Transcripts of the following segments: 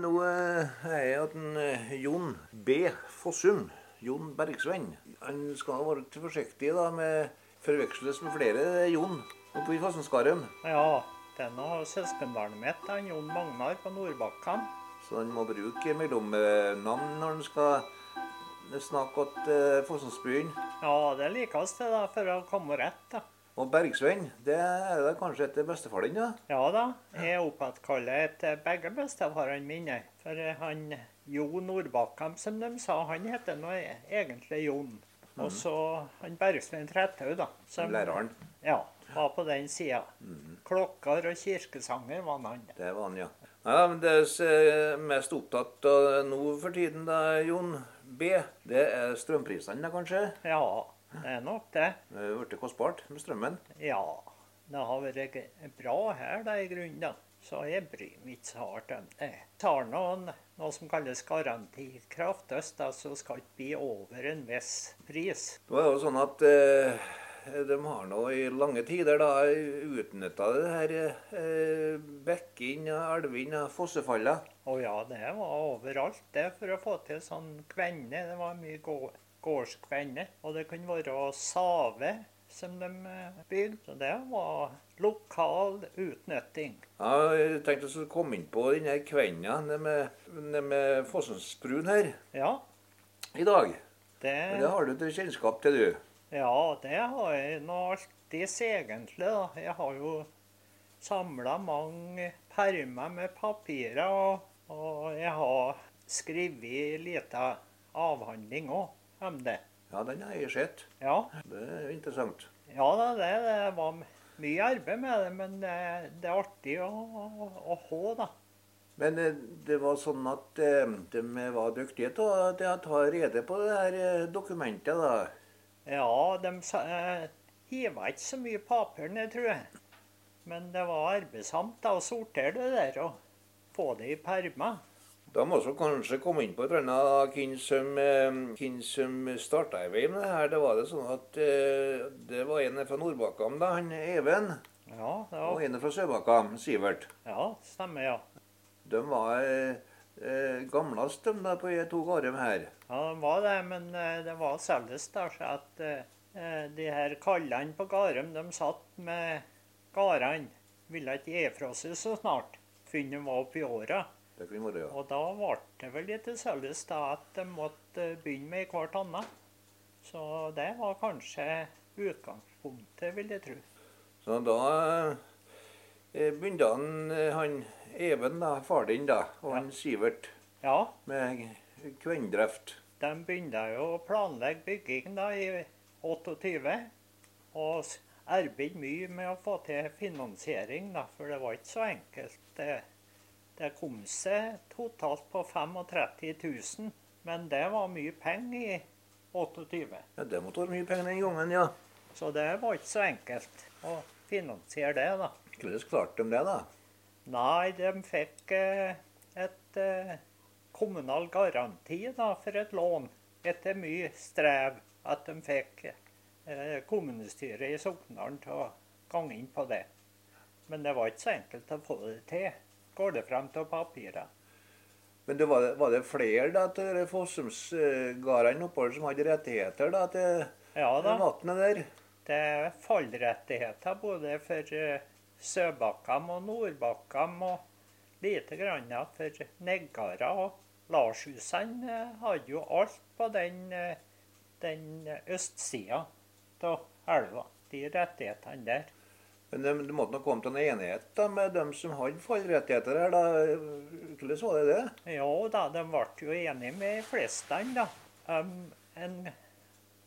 nå eh, er jeg at en, eh, Jon B. Fossum, Jon Bergsvenn Han skal ha vært forsiktig da med forveksles med flere Jon oppe i Fossumskarøm. Ja, den har søskenbarnet mitt, han Jon Magnar på Nordbakken. Så han må bruke mellomnavn når han skal eh, snakke til Fossumsbyen. Ja, det likes det, da, for å komme rett, da. Og Bergsvenn, det er da kanskje etter bestefaren din, da? Ja da, jeg oppkaller etter eh, begge bestefarene mine. For eh, han Jo Nordbakken, som de sa, han heter nå e- egentlig Jon. Og så han Bergsvein Trethaug, da. Som, Læreren. Ja, var på den sida. Klokker og kirkesanger var han. Det var han, ja. Ja, men Det jeg er mest opptatt av nå for tiden, da, Jon B, det er strømprisene, da kanskje? Ja, det er nok det. Det er blitt kostbart med strømmen. Ja, det har vært g- bra her da, i grunnen. da. Så jeg bryr meg ikke så hardt om det. Jeg tar noen, noe som kalles garantikraft øst, da, så skal ikke bli over en viss pris. Det var jo sånn at eh, de har nå i lange tider da utnytta det her eh, bekken, elvene, fossefallene. Og ja, det var overalt det for å få til sånn kvenne. Det var mye gå- gårdskvenne. Og det kunne være save som de eh, bygde. Så det var lokal utnytting. Ja, jeg tenkte jeg skulle komme inn på denne kvenna nede med, ned med Fossensbrun her Ja, i dag. det Men Det har du til kjennskap til, du. Ja, det har jeg nå alltids egentlig. da. Jeg har jo samla mange permer med papirer, og, og jeg har skrevet ei lita avhandling òg om det. Ja, den har jeg sett. Ja, Det er jo interessant. ja da, det, det var mye arbeid med det, men det, det er artig å, å, å ha, da. Men eh, det var sånn at eh, de var dyktige til å til å ta rede på det her eh, dokumentet, da. Ja, de sa- eh, hiva ikke så mye papir ned, tror jeg. Men det var arbeidsomt da, å sortere det der og få det i permer. Da må vi kanskje komme inn på et eller annet hvem som, eh, hvem som starta i vei med det her. Det var det sånn at eh, det var en fra Nordbakkam, da, han Even, Ja, det var og en fra Sørbakkam, Sivert. Ja, stemmer, ja. De var eh, eh, gamlest, de da, på de to gårdene her. Ja, det var det, men eh, det var således da, så at eh, de her kallene på Garum, de satt med gardene. Ville ikke gi fra seg så snart, før de var oppi åra. Det kunne vært, ja. Og da ble det vel litt således da at de måtte eh, begynne med hvert annet. Så det var kanskje utgangspunktet, vil jeg tro. Så da eh, begynte han, eh, han Even, da, far din, da, og han Sivert. Ja, med kvenndrift. De begynte jo å planlegge bygging da i 28, og s- arbeidet mye med å få til finansiering, da, for det var ikke så enkelt. Det, det kom seg totalt på 35 000, men det var mye penger i 28. Ja, det måtte være mye penger den gangen, ja. Så det var ikke så enkelt å finansiere det, da. Hvordan klarte de det, da? Nei, de fikk eh, et eh, kommunal garanti da, for et lån. Etter mye strev at de fikk eh, kommunestyret i Sokndalen til å gange inn på det. Men det var ikke så enkelt å få det til. Går det frem til papirer? Men det var, var det flere da, til Fossumsgardene oppover som hadde rettigheter da, til Ja da. vannet der? Det er fallrettigheter både for eh, Søbakkam og Nordbakkam, og lite grann for Neggara. Og Larshusene eh, hadde jo alt på den, eh, den østsida av elva. De rettighetene der. Men de, de måtte nok komme til en enighet da, med dem som hadde fallrettigheter her. da. Hvordan var det det? Jo da, de ble jo enige med flestene, da. Um, en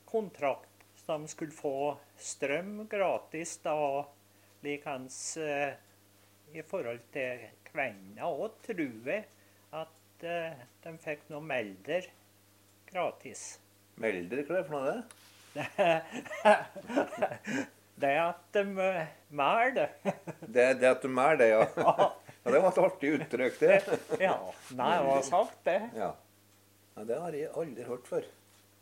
kontrakt så de skulle få strøm gratis, da. og Likeens eh, i forhold til kvenna òg, tror jeg at eh, de fikk noe melder gratis. Melder, hva er det for noe? det? Det at de eh, melder Det, det at de er det, ja. ja det var et artig uttrykk, det. Ja, nei, det var sagt, det. Ja. ja. Det har jeg aldri hørt før.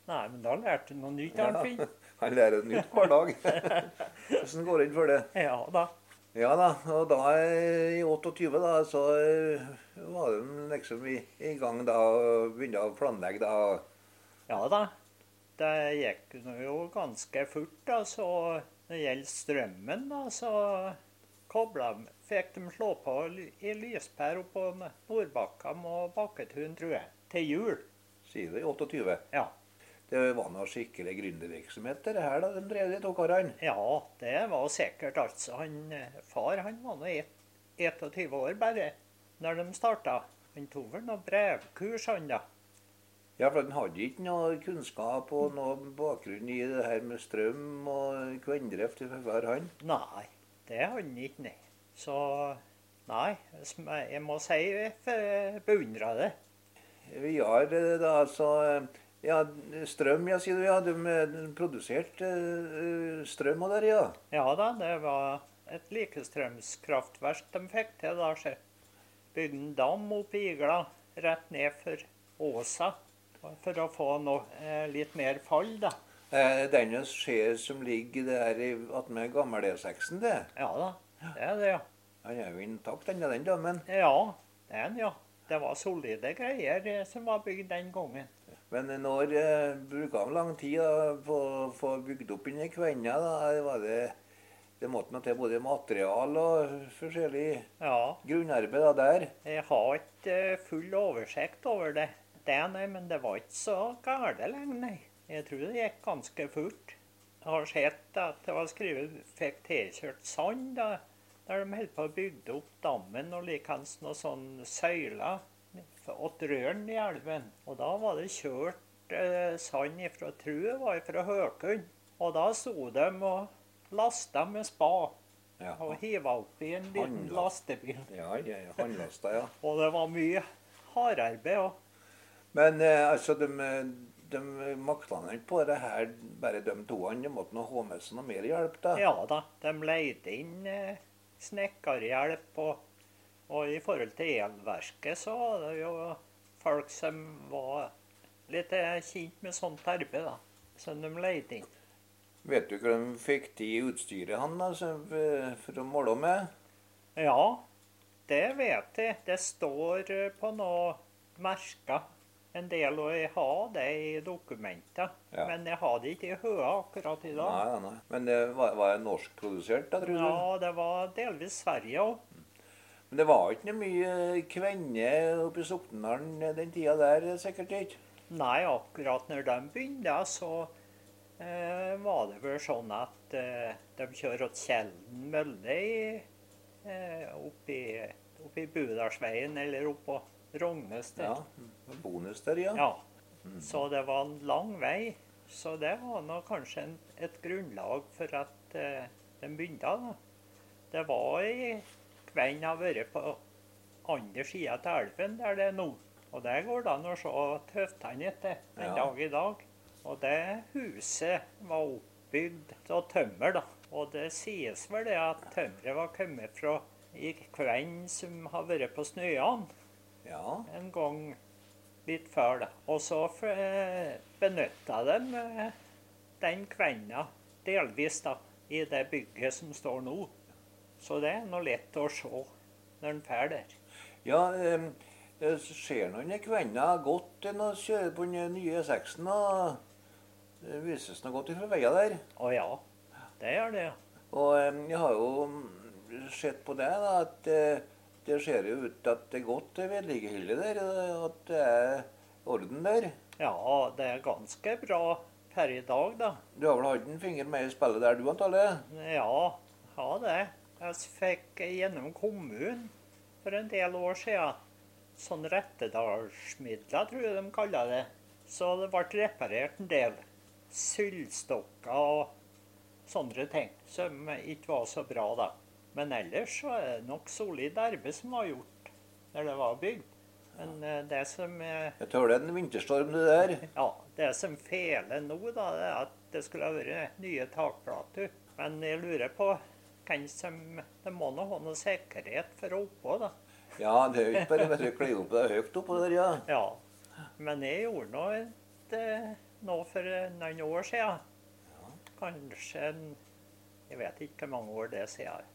Nei, men da lærte du noe nytt, Ja. Arnfinn. Jeg lærer nytt hver dag. Hvordan går det inn for det? Ja da. Ja da, og da eh, i 28 da, så eh, var de liksom i, i gang da og begynte å planlegge da. Ja da, det gikk nå jo ganske fort. da, så Når det gjelder strømmen, da, så kobla de Fikk de slå på ly- i lyspære oppå Nordbakka og Bakketun, tror jeg. Til jul. Sier det i 28. Ja. Det var noe skikkelig gründervirksomhet det her da, de drev de to karene. Ja, det var sikkert. altså. Han, eh, far han var nå et- 21 år bare når de starta. Han tok vel noe brevkurs, han da. Ja, for den hadde ikke noe kunnskap og noe bakgrunn i det her med strøm og kvendreft for hver han. Nei, det hadde han ikke, nei. Så nei, som jeg jeg må si jeg f- beundrer det. Vi har eh, da altså eh, ja, strøm, ja, sier du. Ja, de eh, produserte eh, strøm av der, ja. Ja da, det var et likestrømskraftverk de fikk til da. sjø. Bygde en dam opp i igla rett ned for åsa for å få noe, eh, litt mer fall, da. Eh, Denne skjer som ligger der i- attmed gammel E6-en, det. Ja da, det er det, ja. Han er jo intakt, den, den damen. Ja, den, ja. Det var solide greier eh, som var bygd den gangen. Men når eh, bruker han lang tid da, på å få bygd opp inni kvenna? Da, Det var det, det måtte nå til både material og forskjellig Ja, grunnarbeid da, der. jeg har ikke eh, full oversikt over det. Det, nei, men det var ikke så galt lenger, nei. Jeg tror det gikk ganske fort. Jeg har sett at det var skrevet fikk tilkjørt sand da, der de holdt på å bygde opp dammen og likeens noen sånne sånn søyler åt røren i elven. Og da var det kjørt eh, sand ifra True, var ifra Høkund. Og da sto de og lasta med spa. Ja, og hiva opp i en liten Handla. lastebil. ja, ja, ja håndlasta, ja. Og det var mye hardarbeid òg. Men eh, altså, de, de makta nå ikke på det her, bare de toene. De måtte nå ha med seg noe mer hjelp, da. Ja da, de leide inn eh, snekkerhjelp. Og, og i forhold til elverket så var det jo folk som var litt eh, kjent med sånt arbeid, da. Som de leide inn. Vet du hva de fikk til i utstyret han, da, som, eh, for å måle med? Ja, det vet jeg. Det står eh, på noe merker. En del og jeg har det i dokumenter. Ja. Men jeg har det ikke i hodet akkurat i dag. Nei, nei, nei. Men det var, var det norskprodusert, da, tror du? Ja, det var delvis Sverige òg. Men det var ikke noe mye eh, kvenne oppe i Soknedalen eh, den tida der, sikkert ikke. Nei, akkurat når de begynte, så eh, var det vel sånn at eh, de kjører til Kjelden mølle i, eh, oppi, oppi Budalsveien eller oppå Rognes. Ja, Mm. der. Bonus der, ja. Ja. Så det var en lang vei. Så det var nå kanskje en, et grunnlag for at eh, de begynte. da. Det var ei kvenn har vært på andre sida av elven der det er nå. Og der går det an å se tøftene etter en Ja. dag i dag. Og det huset var oppbygd av tømmer, da. Og det sies vel det at tømmeret var kommet fra ei kvenn som har vært på Snøan Ja, en gang litt før, da. Og så eh, benytta de eh, den kvenna delvis da, i det bygget som står nå. Så det er nå lett å se når en drar der. ja em, det ser noen kvenner godt enn å kjøre på den nye E6-en. og Det vises noe godt ifra veia der. Å ja, det gjør det. ja. Og em, jeg har jo mm, sett på det da, at eh, det ser jo ut at det er godt eh, vedlikeholdet der, og at det er orden der. Ja, det er ganske bra per i dag, da. Du har vel hatt en finger med i spillet der, du antallet? Ja, ja det. Jeg fikk gjennom kommunen for en del år siden. Sånn rettedalsmidler, tror jeg de kaller det. Så det ble reparert en del sylstokker og sånne ting som ikke var så bra da. Men ellers så er det nok solid arbeid som var gjort når det var bygd. Men eh, det som eh, Jeg tåler en vinterstorm, det der. ja, det som feler nå, da, det er at det skulle ha vært nye takplater. Men jeg lurer på hvem som Det må nå ha noe sikkerhet for oppå, da. Ja, det er jo ikke bare bare å kle opp deg høyt oppå der, ja. Ja. Men jeg gjorde nå et eh, nå for eh, noen år siden. Kanskje en Jeg vet ikke hvor mange år det er siden.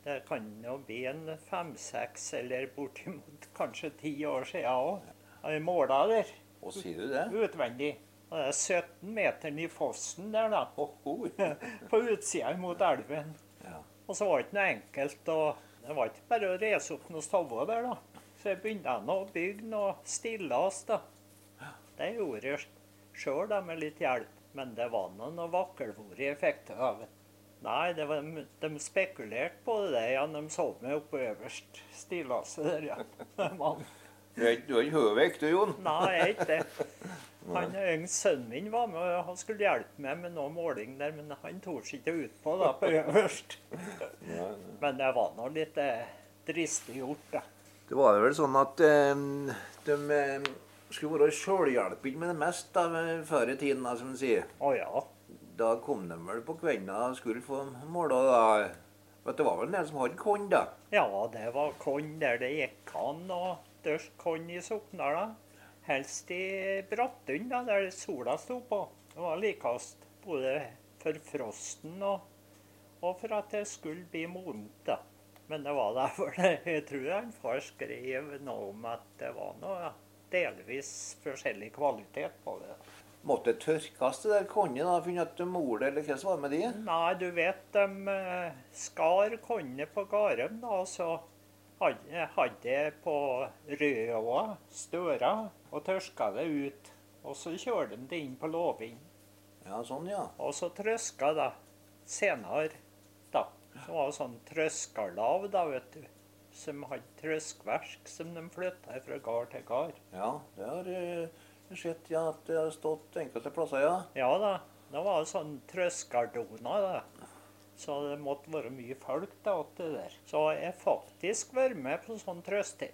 Det kan jo bli en fem-seks eller bortimot kanskje ti år siden òg. Jeg måla der Og sier du det? utvendig. Og det er 17 meter i fossen der, da. Ho, ho. På utsida mot elven. Ja. Og så var det ikke noe enkelt. og Det var ikke bare å reise opp noen stavler der, da. Så jeg begynte jeg nå å bygge noe stillas, da. Det gjorde jeg sjøl, da, med litt hjelp. Men det var nå noe vakkelvor jeg fikk til av det. Nei, det var, de spekulerte på det, ja. De så meg oppe øverst stillaset der, ja. Det var- Du er ikke- du er ikke høvek, du, Jon. Nei, jeg er ikke det. Han yngste sønnen min var med, og han skulle hjelpe meg med noe måling der, men han torde ikke ut på da, på øverst. Ja, Men det var nå litt eh, dristig gjort, da. Det var vel sånn at eh, de eh, skulle være sjølhjelpende med det meste da, eh, før i tiden, da, som de sier. Å ja. Da kom de vel på kvelden og skulle få måla, da. For det var vel en del som hadde korn, da. Ja, det var korn der det gikk an å dørke korn i Sokndal. da. Helst i Brattund, da, der sola sto på. Det var likest både for frosten og, og for at det skulle bli modent. da. Men det var derfor det- Jeg tror han far skrev noe om at det var noe delvis forskjellig kvalitet på det. Måtte tørkes det der kornet, da, finne at de mor det, eller hva som var med det. Nei, du vet, de eh, skar kornet på Garum, da, og så hadde hadde jeg på Røa, Støra, og tørska det ut. Og så kjørte de det inn på Låvind, Ja, sånn, ja. og så trøska det senere, da. Det var sånn trøskarlav, da, vet du, som hadde trøskverk som de flytta fra gard til gard. Ja, det har eh, sett, ja, at det har stått enkelte plasser, ja. Ja da, det var sånn trøskardoner da. Så det måtte være mye folk da opp til der. Så jeg har faktisk vært med på sånn trøste,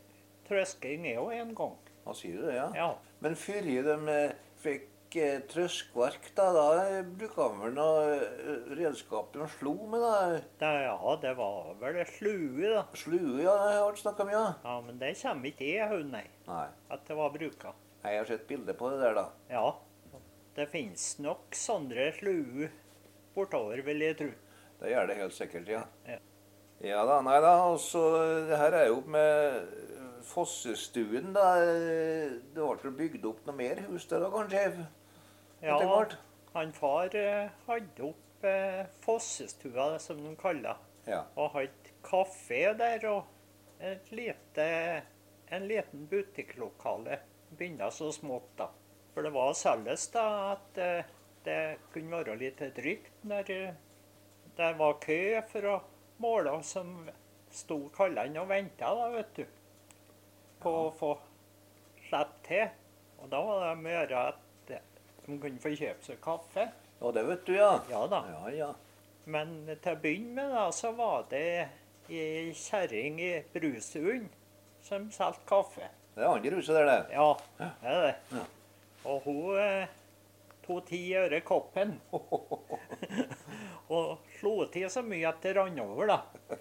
trøsking jeg òg en gang. Da sier du det, ja. Ja. Men før de eh, fikk eh, trøskverk, da, da bruka de vel noe eh, redskap de slo med, da. Da, ja, det var vel ei slue, da. Slue, ja, det har vært snakka mye om. Ja, Men det kommer ikke jeg hun, nei. Nei. At det var bruka. Nei, jeg har sett bilde på det der, da. Ja. Det finnes nok sånne sluer bortover, vil jeg tro. Det gjør det helt sikkert, ja. Ja. Ja da, nei da. Og så eh, det her er jo opp med eh, Fossestuen, da. eh, Det ble vel bygd opp noe mer hus der da, kanskje? Ja, Etter hvert? han far eh, hadde opp eh, Fossestua, som de kaller det. Ja. og hadde kafé der og et lite, en liten butikklokale. Begynte så smått, da. For det var selges da at eh, det kunne være litt drygt når eh, det var kø for å måle som sto kallene og venta, da, vet du. På å få slippe til. Og da var det med å gjøre at eh, de kunne få kjøpe seg kaffe. ja, det vet du, ja. Ja da. Ja, ja. Men til å begynne med da, så var det ei kjerring i Brusund som solgte kaffe. Det er andre huset der, det. Ja, det er det. Og hun eh, tok ti øre koppen. Og slo til så mye at det rant over, da.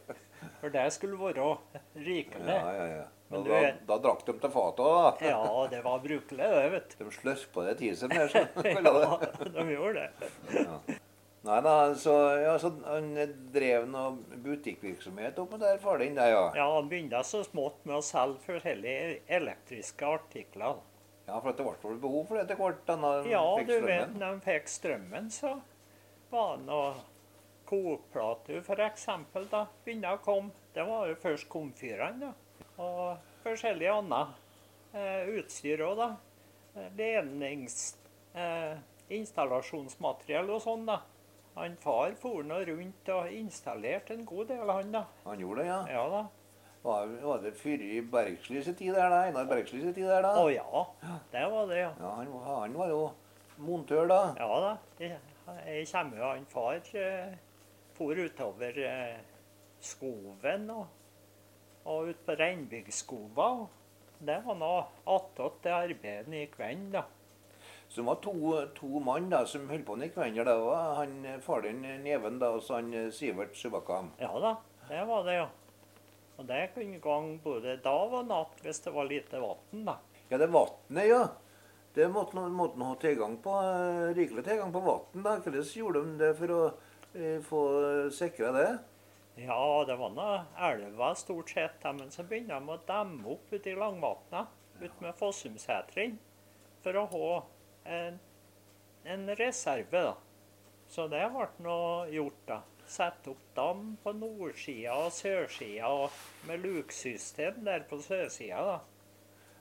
For det skulle være rikelig. Ja, ja, ja. Men Og du Da, vet- da drakk de til fatet òg, da. Ja, det var brukelig, det, vet du. De slurpa det til seg mer, som de kaller det. Ja, de gjorde det. Nei da, så, ja, så han drev noe butikkvirksomhet oppe der, far din, der, ja. Ja, Han begynte så smått med å selge forskjellige elektriske artikler. Ja, for at det ble vel behov for det etter hvert? da, når han Ja, fikk du vet, strømmen. når de fikk strømmen, så var det noe kokeplate, for eksempel, da begynte å komme. Det var jo først komfyrene, da. Og forskjellig annet eh, utstyr òg, da. Eh, Lednings... Eh, installasjonsmateriell og sånn, da. Han far for nå rundt og installerte en god del, han, da. Han gjorde det, ja. Ja da. Var, var det fyr i Bergsli sin tid der, da? Einar Bergsli sin tid der, da? Å ja, det var det, ja. Ja, han, han var jo montør da. Ja da. Jeg, jeg kommer jo han far eh, for utover eh, skoven og, og ut på Reinbyggskova. og Det var nå attåt det arbeidet i kvelden, da. Så det var to, to mann da, som holdt på med hverandre. Det var han eh, far din eh, Neven da, og så han eh, Sivert Subakam. Ja da, det var det, ja. Og det kunne gå an både dag og natt hvis det var lite vann, da. Ja, det vannet, ja. Det måtte han måtte han ha tilgang på. eh, Rikelig tilgang på vann, da. Hvordan gjorde de det for å eh, få sikra det? Ja, det var nå elva stort sett, da, men så begynner de å demme opp ute i Langvatna, ute med Fossumseteren, for å ha en, en reserve, da. Så det ble nå gjort, da. Sette opp dam på nordsida og sørsida, og med luksystem der på sørsida, da.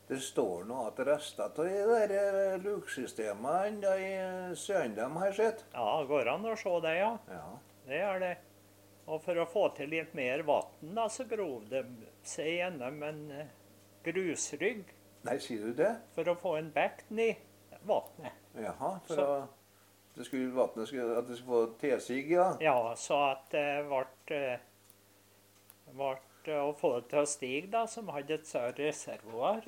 Det står nå at rester av de der eh, luksystemene da i Søndem har sett. Ja, går an å se det, ja. Ja. Det er det. Og for å få til litt mer vann, da, så grov de seg gjennom en eh, grusrygg Nei, sier du det? for å få en bekk ned vannet. Jaha. For Så- å, det skulle, vattnet skulle, at det skulle få tilsig, ja. Ja, så at eh, det ble, ble eh, å få det til å stige, da, som hadde et større reservoar.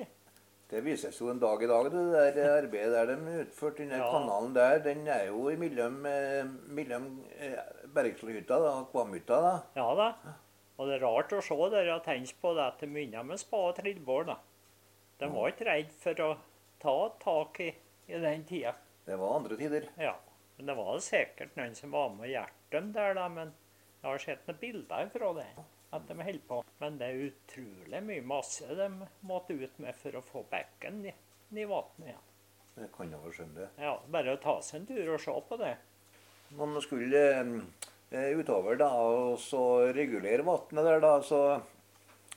Det vises jo en dag i dag, det der eh, arbeidet der de utførte. Den der Ja. kanalen der, den er jo imellom eh, mellom, eh, Bergsløyhytta da, og Kvamhytta. da. Ja da. Og det er rart å se der og tenke på det at de begynner med spa og trillebår, da. De var ikke redd for å ta tak i, i den tida. Det var andre tider. Ja, men det var sikkert noen som var med og hjalp dem der, da. Men jeg har sett noen bilder fra det. At de holder på. Men det er utrolig mye masse de måtte ut med for å få bekken i, i vannet igjen. Jeg kan jo skjønne det. Ja, bare å ta seg en tur og se på det. Man skulle eh, utover da, og så regulere vannet der, da, så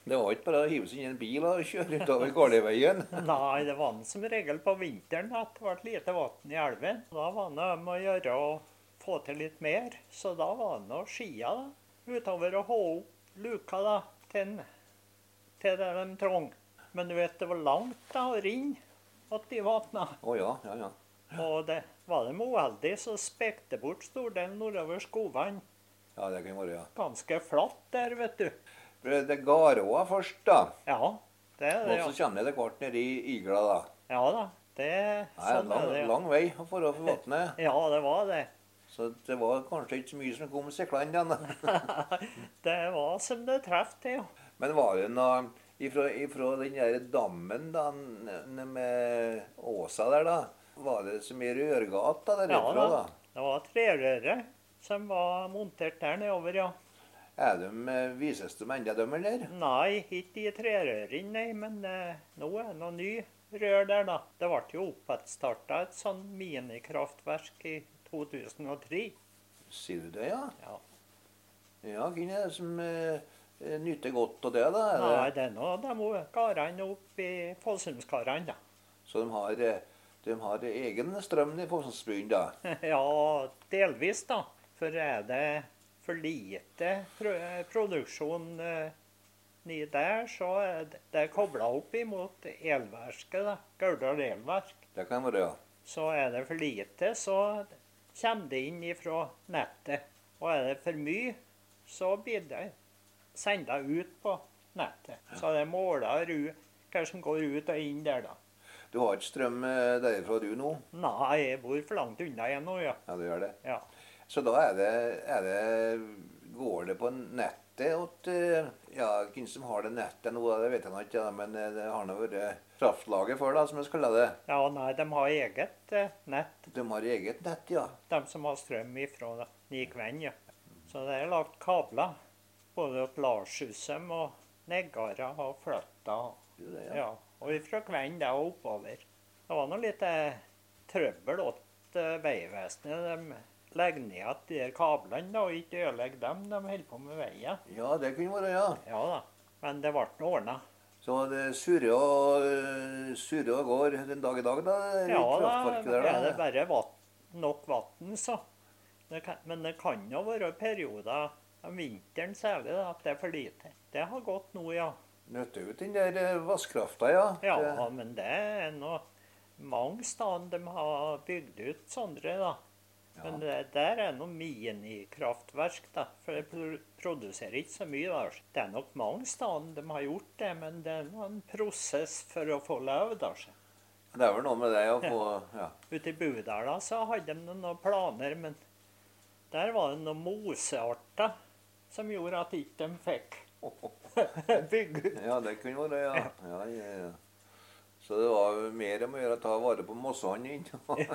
det var ikke bare å hive seg inn i en bil og kjøre utover Garliveien. Nei, det var som regel på vinteren at det ble lite vann i elven. Da var det om å gjøre å få til litt mer. Så da var det å skia da, utover å ha opp luka da, til, en- til det de trong. Men du vet, det var langt da å rinne att i vatna. Å ja, ja, ja. Og det var de uheldige, så spekte bort stordelen nordover skogene. Ja, det kan være, ja. Ganske flatt der, vet du. For Det er Garåa først, da. Ja, det er Og det, ja. så kommer det etter hvert ned i Igla, da. Ja da, det Det er sånn er lang, det. ja. lang vei å få over vannet. Ja, det var det. Så det var kanskje ikke så mye som kom seklende igjen. Det var som det traff til, ja. Men var det noe ifra, ifra den der dammen da, n- med åsa der, da? Var det så mye rørgata Ja, derifra, da. da? Det var trerøre som var montert der nedover, ja. Er de, eh, vises de enda, de, eller? Nei, ikke i trerøring, nei, men eh, nå er det noe ny rør der, da. Det ble jo oppstarta et sånn minikraftverk i 2003. Sier du det, ja? Ja. Ja, hvem er det som eh, nyter godt av det, da? Er det- Nei, det er nå de karene oppe i Fossumskarene, da. Så de har, eh, de har egen strøm i Fossensbyen, da? Ja, delvis, da. For er det for lite pro produksjon eh, ni der, så er det- det er kobla opp imot elverket, da. Gauldal elverk. Det kan være, ja. Så er det for lite, så kommer det inn ifra nettet. Og er det for mye, så blir det senda ut på nettet. Så det måler ru- hva som går ut og inn der, da. Du har ikke strøm eh, derifra du nå? Nei, jeg bor for langt unna jeg nå, ja. Ja, du gjør det. ja. Så da er det, er det Går det på nettet at eh, Ja, hvem som har det nettet nå, det vet jeg nå ikke, ja, men eh, det har nå vært kraftlaget før, da, som vi kaller det. Ja, nei, de har eget eh, nett, De har eget nett, ja. de som har strøm ifra Nikvenn, ja. Så det er lagt kabler både til Larshusem og Neggara og Fløtta. Det er det, Ja. ja. og ifra Kvenn der og oppover. Det var nå litt eh, trøbbel åt eh, Vegvesenet. De legger ned at de der kablene da, og ikke ødelegger dem. De holder på med veien. Ja, det kunne være, ja. Ja da, men det ble nå ordna. Så det surrer og, eh, surrer og går den dag i dag, da? i Ja da, kraftverket der, er det da. bare vatt, nok vann, så. Det kan, men det kan jo være perioder, om vinteren særlig, da, at det er for lite. Det har gått nå, ja. Nøtte ut den der eh, vannkrafta, ja. Ja, Det- men det er nå mange steder de har bygd ut sånne, da. Men det der er noe minikraftverk, da. For det pro- produserer ikke så mye. da. Det er nok mange steder de har gjort det, men det er nå en prosess for å få lov, da. så. Det er vel noe med det å få ja. Ute i Budala så hadde de noen planer, men der var det noen mosearter som gjorde at ikke de fikk bygge ut. ja, det kunne være, ja. ja, ja, ja. Så det var jo mer om å gjøre å ta vare på mossene enn Ja, det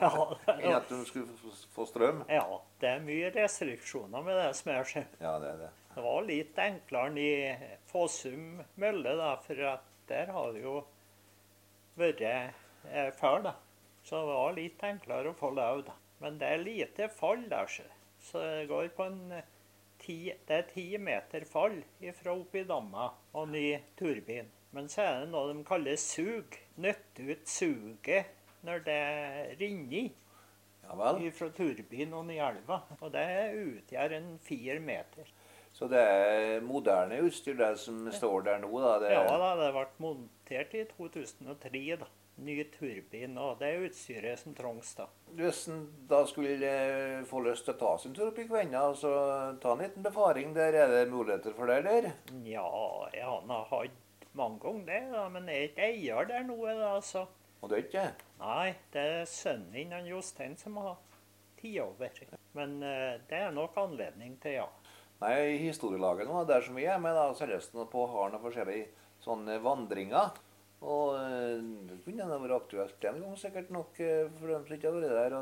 enn var- at de skulle få- få strøm. ja, det er mye restriksjoner med det som er skjedd. Ja, det er det. Det var litt enklere i Fossum mølle, da, for at der har det jo vært eh, før, da. Så det var litt enklere å få løv, da. Men det er lite fall der, så. så det går på en eh, ti, det er ti meter fall fra oppi damma og ny turbin. Men så er det noe de kaller sug. Nøtte ut suget når det renner Ja vel. fra turbin og ned i elva. Og det utgjør en fire meter. Så det er moderne utstyr, det som står der nå, da. Det, Ja da, det ble montert i 2003, da. Ny turbin, og det er utstyret som trengs, da. Hvis en da skulle eh, få lyst til å ta sin tur opp i Kvenna, så ta en liten befaring der. Er det muligheter for det, eller? Nja, jeg har nå hatt mange ganger det, da, men jeg er ikke eier der nå, da, altså. Og det er ikke det? Nei, det er sønnen min, han Jostein, som har tatt over. Men eh, det er nok anledning til, ja. Nei, i historielaget nå, der som vi er med, da, så er det sånn at på har noen forskjellige sånne vandringer. Og eh, det kunne da vært aktuelt en gang, sikkert nok, eh, for dem som ikke har vært der,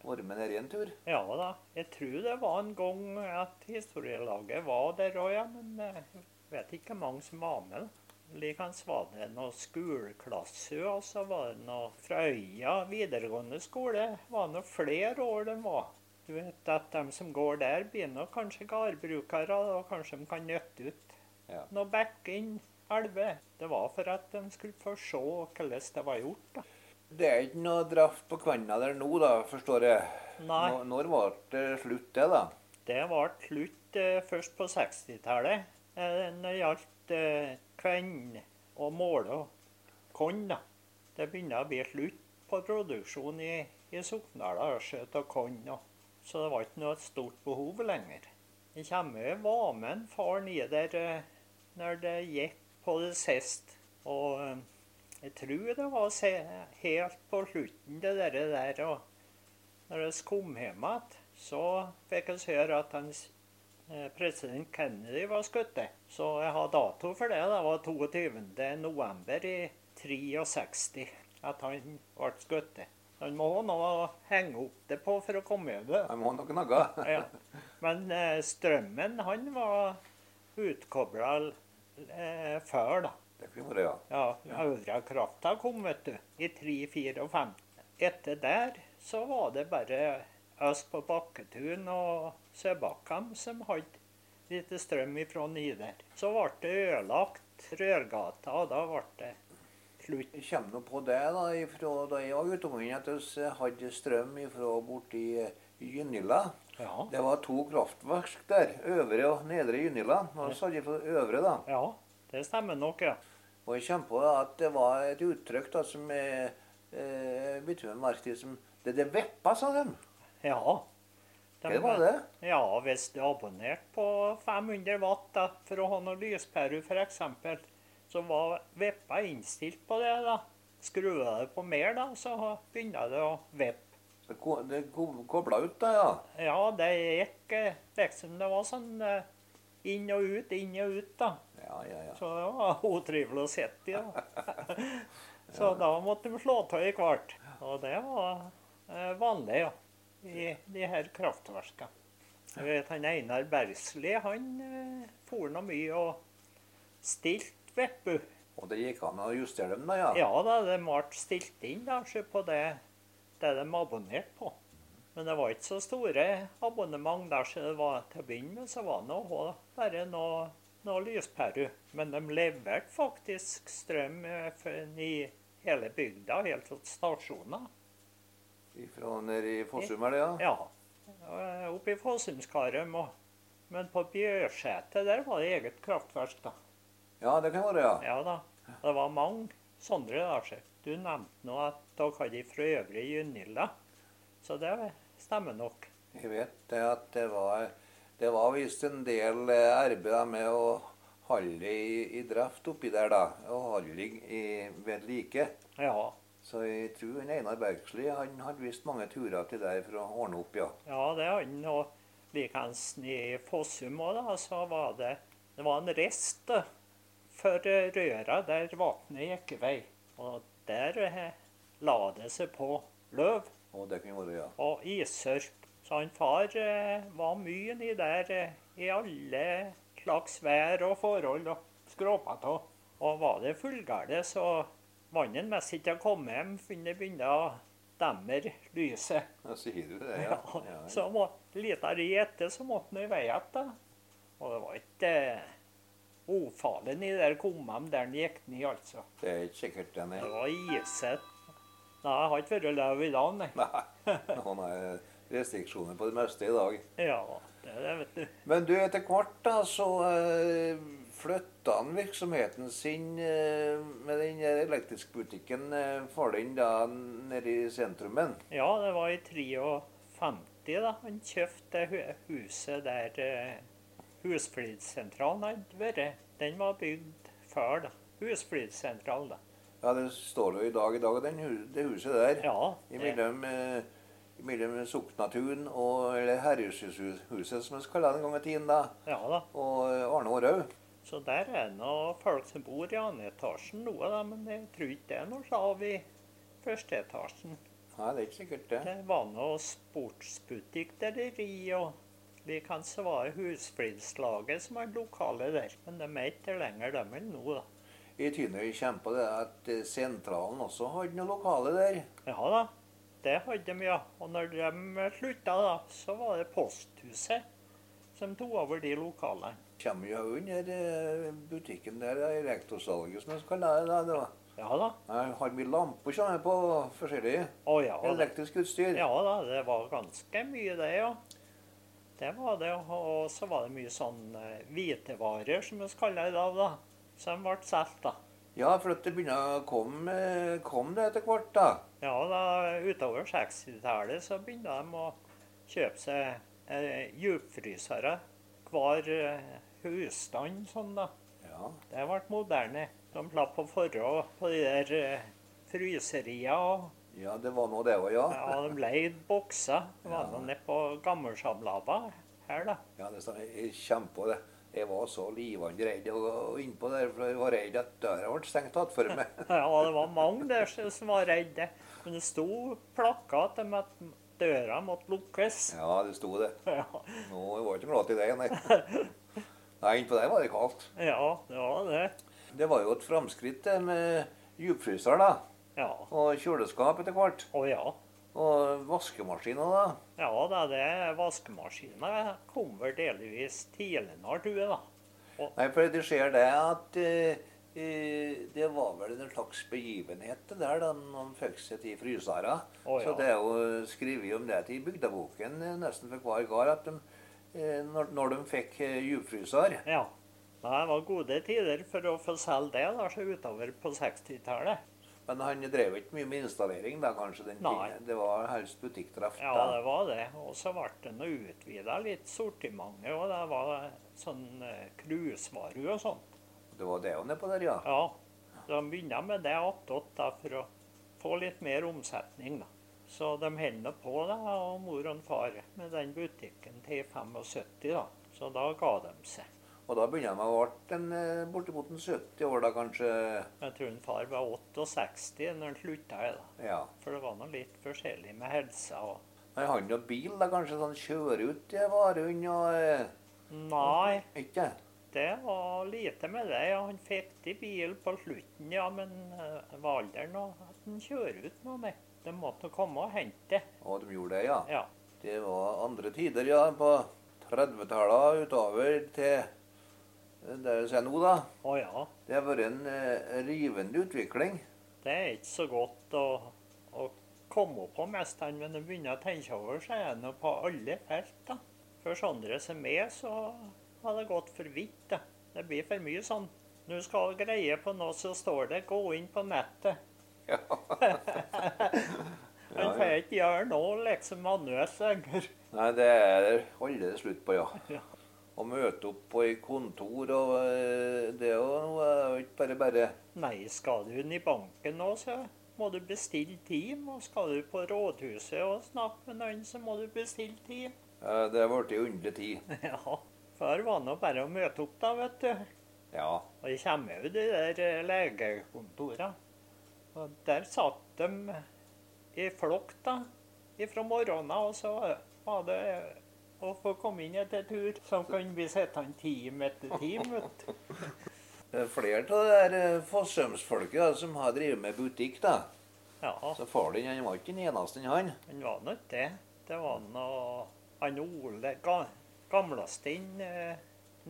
og vært med ned i en tur. Ja da. Jeg tror det var en gang at historielaget var der òg, ja. Men eh, jeg vet ikke mange som var med. Likens var det noe skoleklasse, og så var det noe fra Øya videregående skole. Det var nå flere år de var. Du vet at de som går der, blir nå kanskje gårdbrukere, og kanskje de kan nytte ut Ja. noe bekker inn elver. Det var for at de skulle få se hvordan det var gjort. da. Det er ikke noe draft på Kvenna der nå, da, forstår jeg. Nei. Nå- Når var det slutt, det, da? Det ble slutt eh, først på 60-tallet. Eh, når det gjaldt eh, kvenn og måle og korn, da. Det begynte å bli slutt på produksjon i, i Sokndala, Ørset og korn. og- Så det var ikke noe stort behov lenger. Jeg kommer jeg var med en far ned der eh, når det gikk på det sist. Og eh, jeg tror det var se, helt på slutten det der. der og når jeg kom hjem igjen, så fikk jeg høre at hans eh, president Kennedy var skutt. Så jeg har dato for det. Det var 22. november i 63 at han ble skutt. Han må ha noe å henge opp det på for å komme over. Jeg må ha noe noe. Ja. Men eh, strømmen, han var utkobla eh, før, da. Det kunne vært, ja. Ja, Aura Krafta kom, vet du, i 3, 4 og 5. Etter der så var det bare oss på Bakketun og Søbakkam som hadde lite strøm ifra Nider. Så ble det ødelagt Rørgata, og da ble det slutt. Jeg kommer nå på det da, ifra, da jeg var uteomkring, at vi hadde strøm ifra borti eh, Gynilla. Ja. Det var to kraftverk der, øvre og nedre Gynilla. Og så hadde jeg fått øvre, da. ja, det stemmer nok, ja. Og jeg kommer på at det var et uttrykk da, som eh, eh, begynte med merke til som Det det veppa, sa de. Ja. Hva var det? Ja, hvis du abonnerte på 500 watt da, for å ha noe lyspære f.eks., så var veppa innstilt på det. da. Skrur jeg det på mer, da, så begynner det å vippe. Det, ko- det ko- kobla ut, da, ja. Ja, det gikk eh, liksom Det var sånn eh, inn og ut, inn og ut, da. Ja, ja, ja. Så det var utrivelig å sitte i. da. Så da måtte de slå av i hvert. Og det var eh, vanlig ja, i de her kraftverkene. Jeg vet, han Einar Bergsli han eh, for nå mye og stilt Veppu. Og det gikk an å justere dem, da, ja. Ja da, det ble stilt inn da, se på det, det de abonnerte på. Men det var ikke så store abonnement der, så det var til å begynne med så var det noe, bare noe, noe lyspære. Men de leverte faktisk strøm eh, for- i hele bygda, helt til stasjoner. Fra nede i Fossum, er det, ja. Ja. eh, Oppe i Fossumskaret. Men på Bjørsetet der var det eget kraftverk, da. Ja, det kan være, ja. Ja da. Det var mange sånne relasjer. Du nevnte nå at dere hadde fra øvre Junilla. Så det stemmer nok. Jeg vet det at det var, det var visst en del eh, arbeid da med å holde i, i drift oppi der, da. Og holde i- i, ved like. Ja. Så jeg tror en Einar Bergsli han hadde visst mange turer til der for å ordne opp, ja. ja, det hadde han. Og likeens i Fossum òg, da, så var det Det var en rest da, for eh, røra der vannet gikk i vei. Og der eh, la det seg på løv. Og det kunne være, ja. og ishørp. Så han far eh, var mye nedi der eh, i alle slags vær og forhold og skrapa av. Og var det fullgære, så mannen mest ikke hadde kommet hjem før det begynte å demre lyset. Ja, sier du det, ja. Ja, ja. Så må, lita ri etter, så måtte han i vei igjen. Og det var ikke eh, ofarlig i der kummen der han gikk ned, altså. Det er ikke sikkert den Det er var isete. Nei, jeg har ikke vært løv i dag, nei. Nei, han har restriksjoner på det meste i dag. Ja, det, er det vet du. Men du, etter hvert da, så eh, flytta han virksomheten sin eh, med den der elektriskbutikken eh, for den da nede i sentrumen. Ja, det var i 53 da han kjøpte hu- huset der eh, husflidssentralen hadde vært. Den var bygd før da. Husflidssentralen da. Ja, det står jo i dag i dag, den, hu- det huset der. Ja, det, Imellom, eh, imellom Soknatun og eller Herrehushuset, som vi kalte det en gang i tiden, da, ja da. og eh, Arne Aarhaug. Så der er nå folk som bor i andre etasjen nå, da, men jeg tror ikke det er noe slav i første etasjen. Nei, det er ikke sikkert, det. Det var nå sportsbutikk der i Ri, og likens så var det Husflidslaget som er lokale der. Men de er ikke der lenger, de er nå, da. I Tynøy kjempa det at eh, sentralen også hadde noe lokale der. Ja da, det hadde de, ja. Og når de slutta, da, så var det posthuset som tok over de lokalene. kommer jo under eh, butikken der, eh, rektorsalget som jeg skal lære deg. Det var. Ja da. Jeg har mye lamper som er på forskjellig Å ja. da. elektrisk utstyr. Ja da, det var ganske mye det, ja. Det var det. Og så var det mye sånn eh, hvitevarer, som vi kaller det i dag, da. Som ble solgt, da. Ja, for at det begynner å komme eh, kom det etter hvert, da. Ja, da utover 60-tallet så begynte de å kjøpe seg eh, djupfrysere. Hver eh, husstand sånn, da. Ja, Det ble moderne. De slapp å forå på de der eh, fryseria. og ja det var nå det òg, ja. Ja, de leide bokser. Det var Ja. nå nede på Gammelsamlava her, da. Ja, det stemmer. Jeg kommer på det. Jeg var så livende redd å gå innpå der, for jeg var redd at døra ble stengt igjen for meg. Ja, det var mange der som som var redde. Men det sto plakat om at døra måtte lukkes. Ja, det sto det. Ja, Nå jeg var ikke glad i det, nei. Nei, innpå der var det kaldt. ja det var det. Det var jo et framskritt det med djupfryser, da. Ja. Og kjøleskap etter hvert. Å ja. Og vaskemaskiner, da. Ja da, det vaskemaskina kom vel delvis tidligere, tror jeg, da. Nei, for det skjer det at eh, eh, det var vel en slags begivenhet det der da man fikk seg til frysere. Å, Så ja. det er jo skrevet om det i bygdeboken eh, nesten for hver gard at de, eh, når, når de fikk eh, djupfryser. Ja. Nei, det var gode tider for å få selge det da, så utover på 60-tallet. Men han drev ikke mye med installering da, kanskje? den Nei. tiden. Det var helst butikktreff. Ja, da. det var det. Og så ble det nå utvida litt sortimentet, og det var sånn eh, krusvarer og sånn. det var det jo nedpå der, ja. Ja, de begynner med det attåt da, for å få litt mer omsetning. da. Så de holder på, da, og mor og far, med den butikken til 75, da. Så da ga de seg. Og da begynner han å bli en, eh, bortimot en 70 år, da kanskje. Jeg tror en far var 68 når han slutta, jeg, da. Ja. for det var nå litt forskjellig med helsa og Men han har bil, da kanskje sånn kjører ut i varehund og eh, Nei, Ikke? det var lite med det. ja. Han fikk til bil på slutten, ja, men eh, var alderen og at han kjører ut noe, nei. De måtte nå komme og hente det. Og de gjorde det, ja. Ja. Det var andre tider, ja. På 30-tallet utover til eh, der vi er nå, da. Å ja. Det har vært en eh, rivende utvikling. Det er ikke så godt å, å komme på mest, han, men når du begynner å tenke over så er det nå på alle felt. da. For Sondre som er, så har det gått for vidt. da. Det blir for mye sånn. Du skal greie på noe, så står det 'gå inn på nettet'. Ja. Han Ja, får ja. ikke gjøre noe liksom manuelt lenger. Nei, det er det aldri slutt på, ja. Ja. Å møte opp på et kontor og eh, Det er jo noe er jo ikke bare bare. Nei, skal du inn i banken nå, så må du bestille team. Og skal du på rådhuset og snakke med noen, så må du bestille team. Eh, Det har blitt ei underlig tid. Ja, før var det nå bare å møte opp, da, vet du. Ja. Og det kommer jo de der eh, legekontorene. Og der satt de i flokk da, ifra morgenen, og så var det å få komme inn etter tur, som kan bli sittende time etter time. vet du. Det er Flere av det der eh, Fossumsfolket da, som har drevet med butikk, da. Ja, Så far din han var ikke den eneste, han. han var nå ikke det. Det var nå han Ole ga, Gamlestein eh,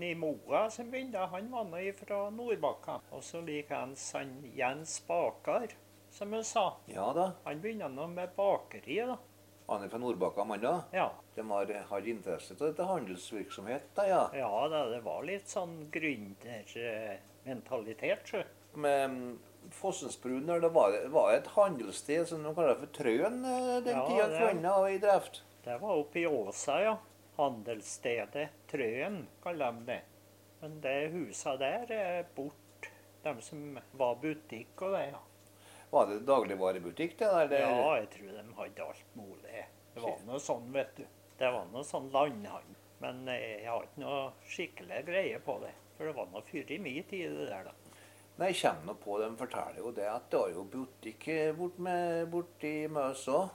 Nimoa som begynte. Han var nå fra Nordbakka. Og så likeens han Jens Baker, som jeg sa. Ja da. Han begynte nå med bakeri, da. Han er fra Nordbakka, mann da. Ja, De har, har interesse av dette handelsvirksomhet, da, ja. ja da, det var litt sånn gründermentalitet, sjø. Med mm, Fossensbrun der, det var, var et handelssted som de kaller for Trøen eh, den Ja, tida det- kvelden og i drift. Det var oppe i Åsa, ja. Handelsstedet Trøen, kaller de det. Men det husa der er bort, de som var butikk og det, ja. Var det dagligvarebutikk, det der? Det, Ja, jeg tror de hadde alt mulig. Det var noe sånn, vet du. Det var noe sånn landhandel. Men eh, jeg har ikke noe skikkelig greie på det. For det var noe fyr i min tid, det der, da. Nei, jeg kommer nå på, de forteller jo det at det var jo butikk eh, bort med, borti Møs òg.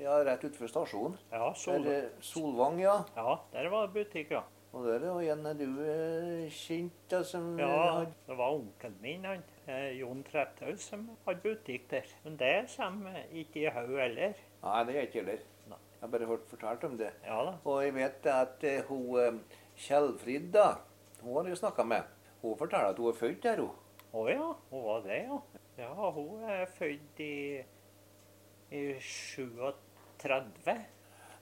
Ja, rett utenfor stasjonen. Ja, Sol... Der, eh, Solvang, ja. ja der var det butikk, ja. Og der er jo en du eh, kjent, da, som Ja, hadde- det var onkelen min, han, eh, Jon Tretthaus, som hadde butikk der. Men det kommer ikke i haug heller. Nei, det er jeg ikke heller. Nei. Jeg har bare hørt fortalt om det. Ja da. Og jeg vet at eh, hun eh, Kjellfrid, da, hun har jeg snakka med. Hun forteller at hun er født der, hun. Å ja, hun var det, ja. Ja, hun er født i, i 37.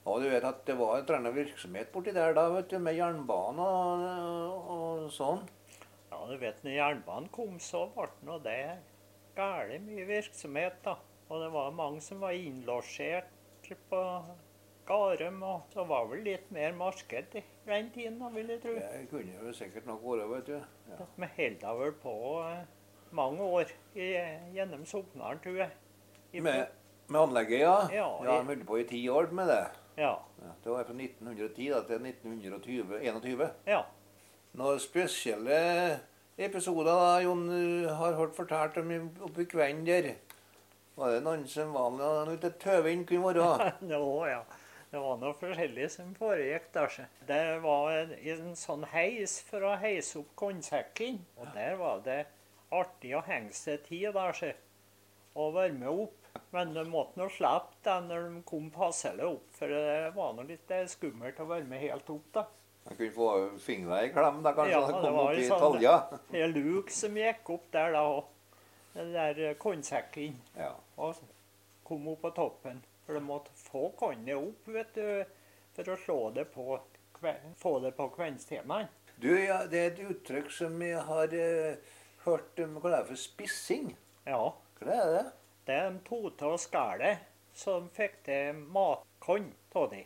Og du vet at det var en eller annen virksomhet borti der da, vet du, med jernbane og, og, og sånn. Ja, du vet, når jernbanen kom, så ble nå det gæli mye virksomhet, da. Og det var mange som var innlosjert på Garum, og så var vel litt mer marked i den tiden, da, vil jeg tro. Det kunne jo sikkert nok vært, vet du. Ja. Vi holdt da vel på eh, mange år i, gjennom Soknaren, tror jeg. I- Med, med anlegget, ja. Ja, ja i- De holdt på i ti år med det. Ja. Ja, det var fra 1910 da, til 1921. ja. Noen spesielle episoder da, Jon eh, har hørt fortalt om i- oppe i kvelden der. Var det noen som var noe ute tøvende kunne være? Nå, ja. Det var noe forskjellig som foregikk der. så. Det var en, en sånn heis for å heise opp kornsekken. Og der var det artig å henge seg til der, så. Og varme opp. Men de måtte nå slippe det når de kom passelig opp, for det var nå litt eh, skummelt å varme helt opp, da. Han kunne få fingra i klem da, kanskje, Ja, ja, han det kom var opp jo i sånn, talja. Det er luk som gikk opp der da òg. Den der eh, kornsekken. Ja. Og Altså, kom opp på toppen. For du måtte få kornet opp, vet du, for å slå det på, kve- få det på kveldstimene. Du, ja, det er et uttrykk som jeg har eh, hørt om, hva det er for spissing? Ja. Hva er det? Det er de tote og skålet som fikk til matkorn av de.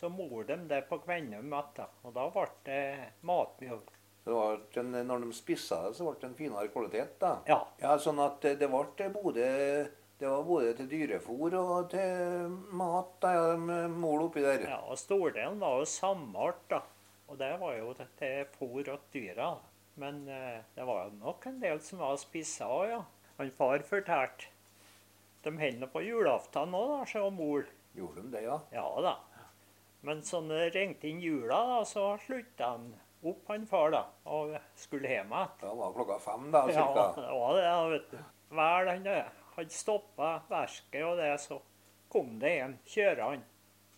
Så mor dem det på Kvennum etter. Og da ble det matmjølk. Det var en, når de spissa det, så ble det en finere kvalitet, da. Ja. Ja, sånn at eh, det ble både det var både til dyrefôr og til mat. da, ja, de mol oppi der. ja. Og stordelen var jo samart, da. Og det var jo til- til fôr åt dyra. da. Men eh, det var jo nok en del som var spissa òg, ja. Han far fortalte. De holder nå på julaften nå, da, sa mor. Gjorde de det, ja? Ja da. Men så når det ringte inn jula, da, så slutta han opp, han far, da, og skulle hjem igjen. Da var klokka fem, da, Ja, cirka. det var det, da, vet du. Vel, han eh, hadde stoppa verket og det, så kom det en kjørende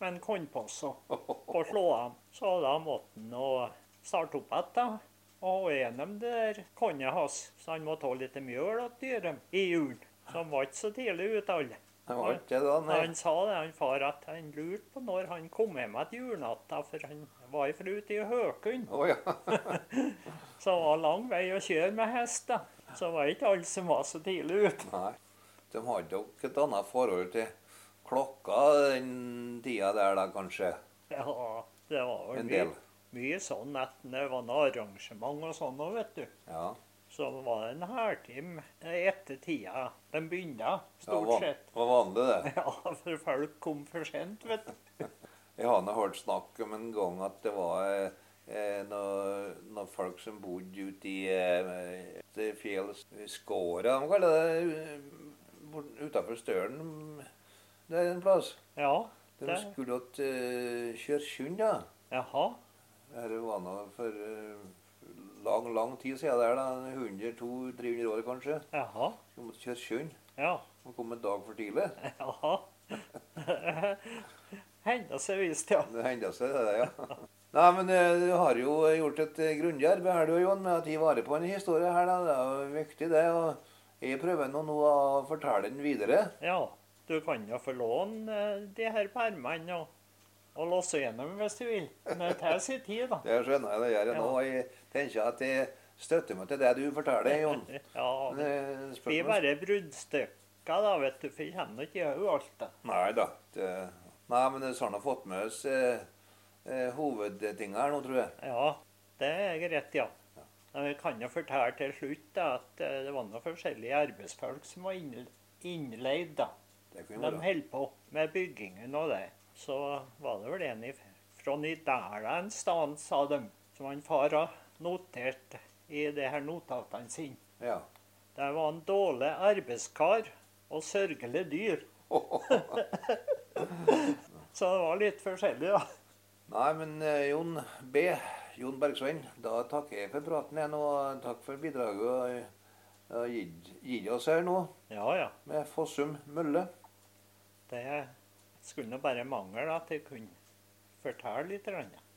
med en kornpose på slåen. Så da måtte han nå starte opp igjen, da. Og gjennom det der kornet hans, så han måtte ha litt mjøl til dyret i julen. Så han var ikke så tidlig ute, alle. Det var ikke det, da. Nei. Han sa det, han far, at han lurte på når han kom hjem etter julenatta, for han var ifra ute i Høkund. Å ja. Så det var lang vei å kjøre med hest, da. Så det var ikke alle som var så tidlig ute. Nei. De hadde nok et annet forhold til klokka den tida der, da, kanskje. Ja, det var vel En mye, del. mye sånn at det var noe arrangement og sånn òg, vet du. Ja. Så det var en halvtime etter tida de begynte, Det stort var, sett. var vanlig, det. Ja, for folk kom for sent, vet du. Jeg har nå hørt snakk om en gang at det var eh, eh, noen noe folk som bodde ute i eh, det fjellet Skåra, de kaller det, eh, utafor Stølen. Det er en plass. Ja, De det, skulle til eh, Kjørsund, ja. Jaha. Dette var nå for eh, lang, lang tid siden der, da. 100-200-300 år kanskje. Jaha. Skulle måtte kjøre sjøen. Ja. Og kom en dag for tidlig. Jaha. Henda seg visst, ja. Det hender seg, det, der, ja. Nei, men eh, du har jo gjort et eh, grundig arbeid her, du og Jon, med å ta vare på en historie her. da. Det er jo viktig, det. og Jeg prøver nå, nå å fortelle den videre. Ja. Du kan jo få låne eh, de her permene og, og låse gjennom hvis du vil. Men det tar sin tid, da. Det skjønner jeg det gjør jeg nå. og Jeg tenker at jeg støtter meg til det du forteller, Jon. Ja. Men, eh, Vi er spørsmålet- bare bruddstykker, da, vet du. For jeg kjenner ikke jo alt, da. Nei da. Det, nei, men vi har nå fått med oss eh, eh, hovedtinga her nå, tror jeg. Ja, det er greit, ja. Men Jeg kan jo fortelle til slutt da, at eh, det var noen forskjellige arbeidsfolk som var innl- innleid. da. Det De kunne være. holdt på med byggingen og det. Så var det vel en i- fra Nidala en sted, sa de, som han far har notert i det her notatene sine. Ja. Det var en dårlig arbeidskar og sørgelig dyr. Så det var litt forskjellig, da. Nei, men eh, Jon B. Jon Bergsvein, da takker jeg for praten igjen, og takk for bidraget og eh, og gitt gitt oss her nå Ja, ja. med Fossum mølle. Det skulle nå bare mangle at jeg kunne fortelle litt. grann, ja.